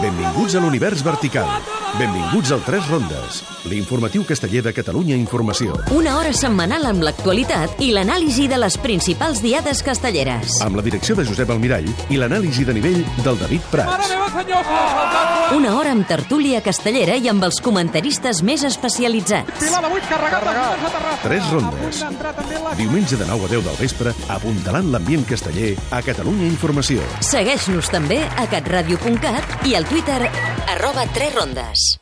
Benvinguts a l'univers vertical. Benvinguts al Tres Rondes, l'informatiu casteller de Catalunya Informació. Una hora setmanal amb l'actualitat i l'anàlisi de les principals diades castelleres. Amb la direcció de Josep Almirall i l'anàlisi de nivell del David Prats. Una hora amb tertúlia castellera i amb els comentaristes més especialitzats. Pilar, avui carregat, carregat. de Terrassa. Tres rondes. A punt d'entrar també la- Diumenge de 9 a 10 del vespre, apuntalant l'ambient casteller a Catalunya Informació. Segueix-nos també a catradio.cat i al Twitter arroba 3 rondes.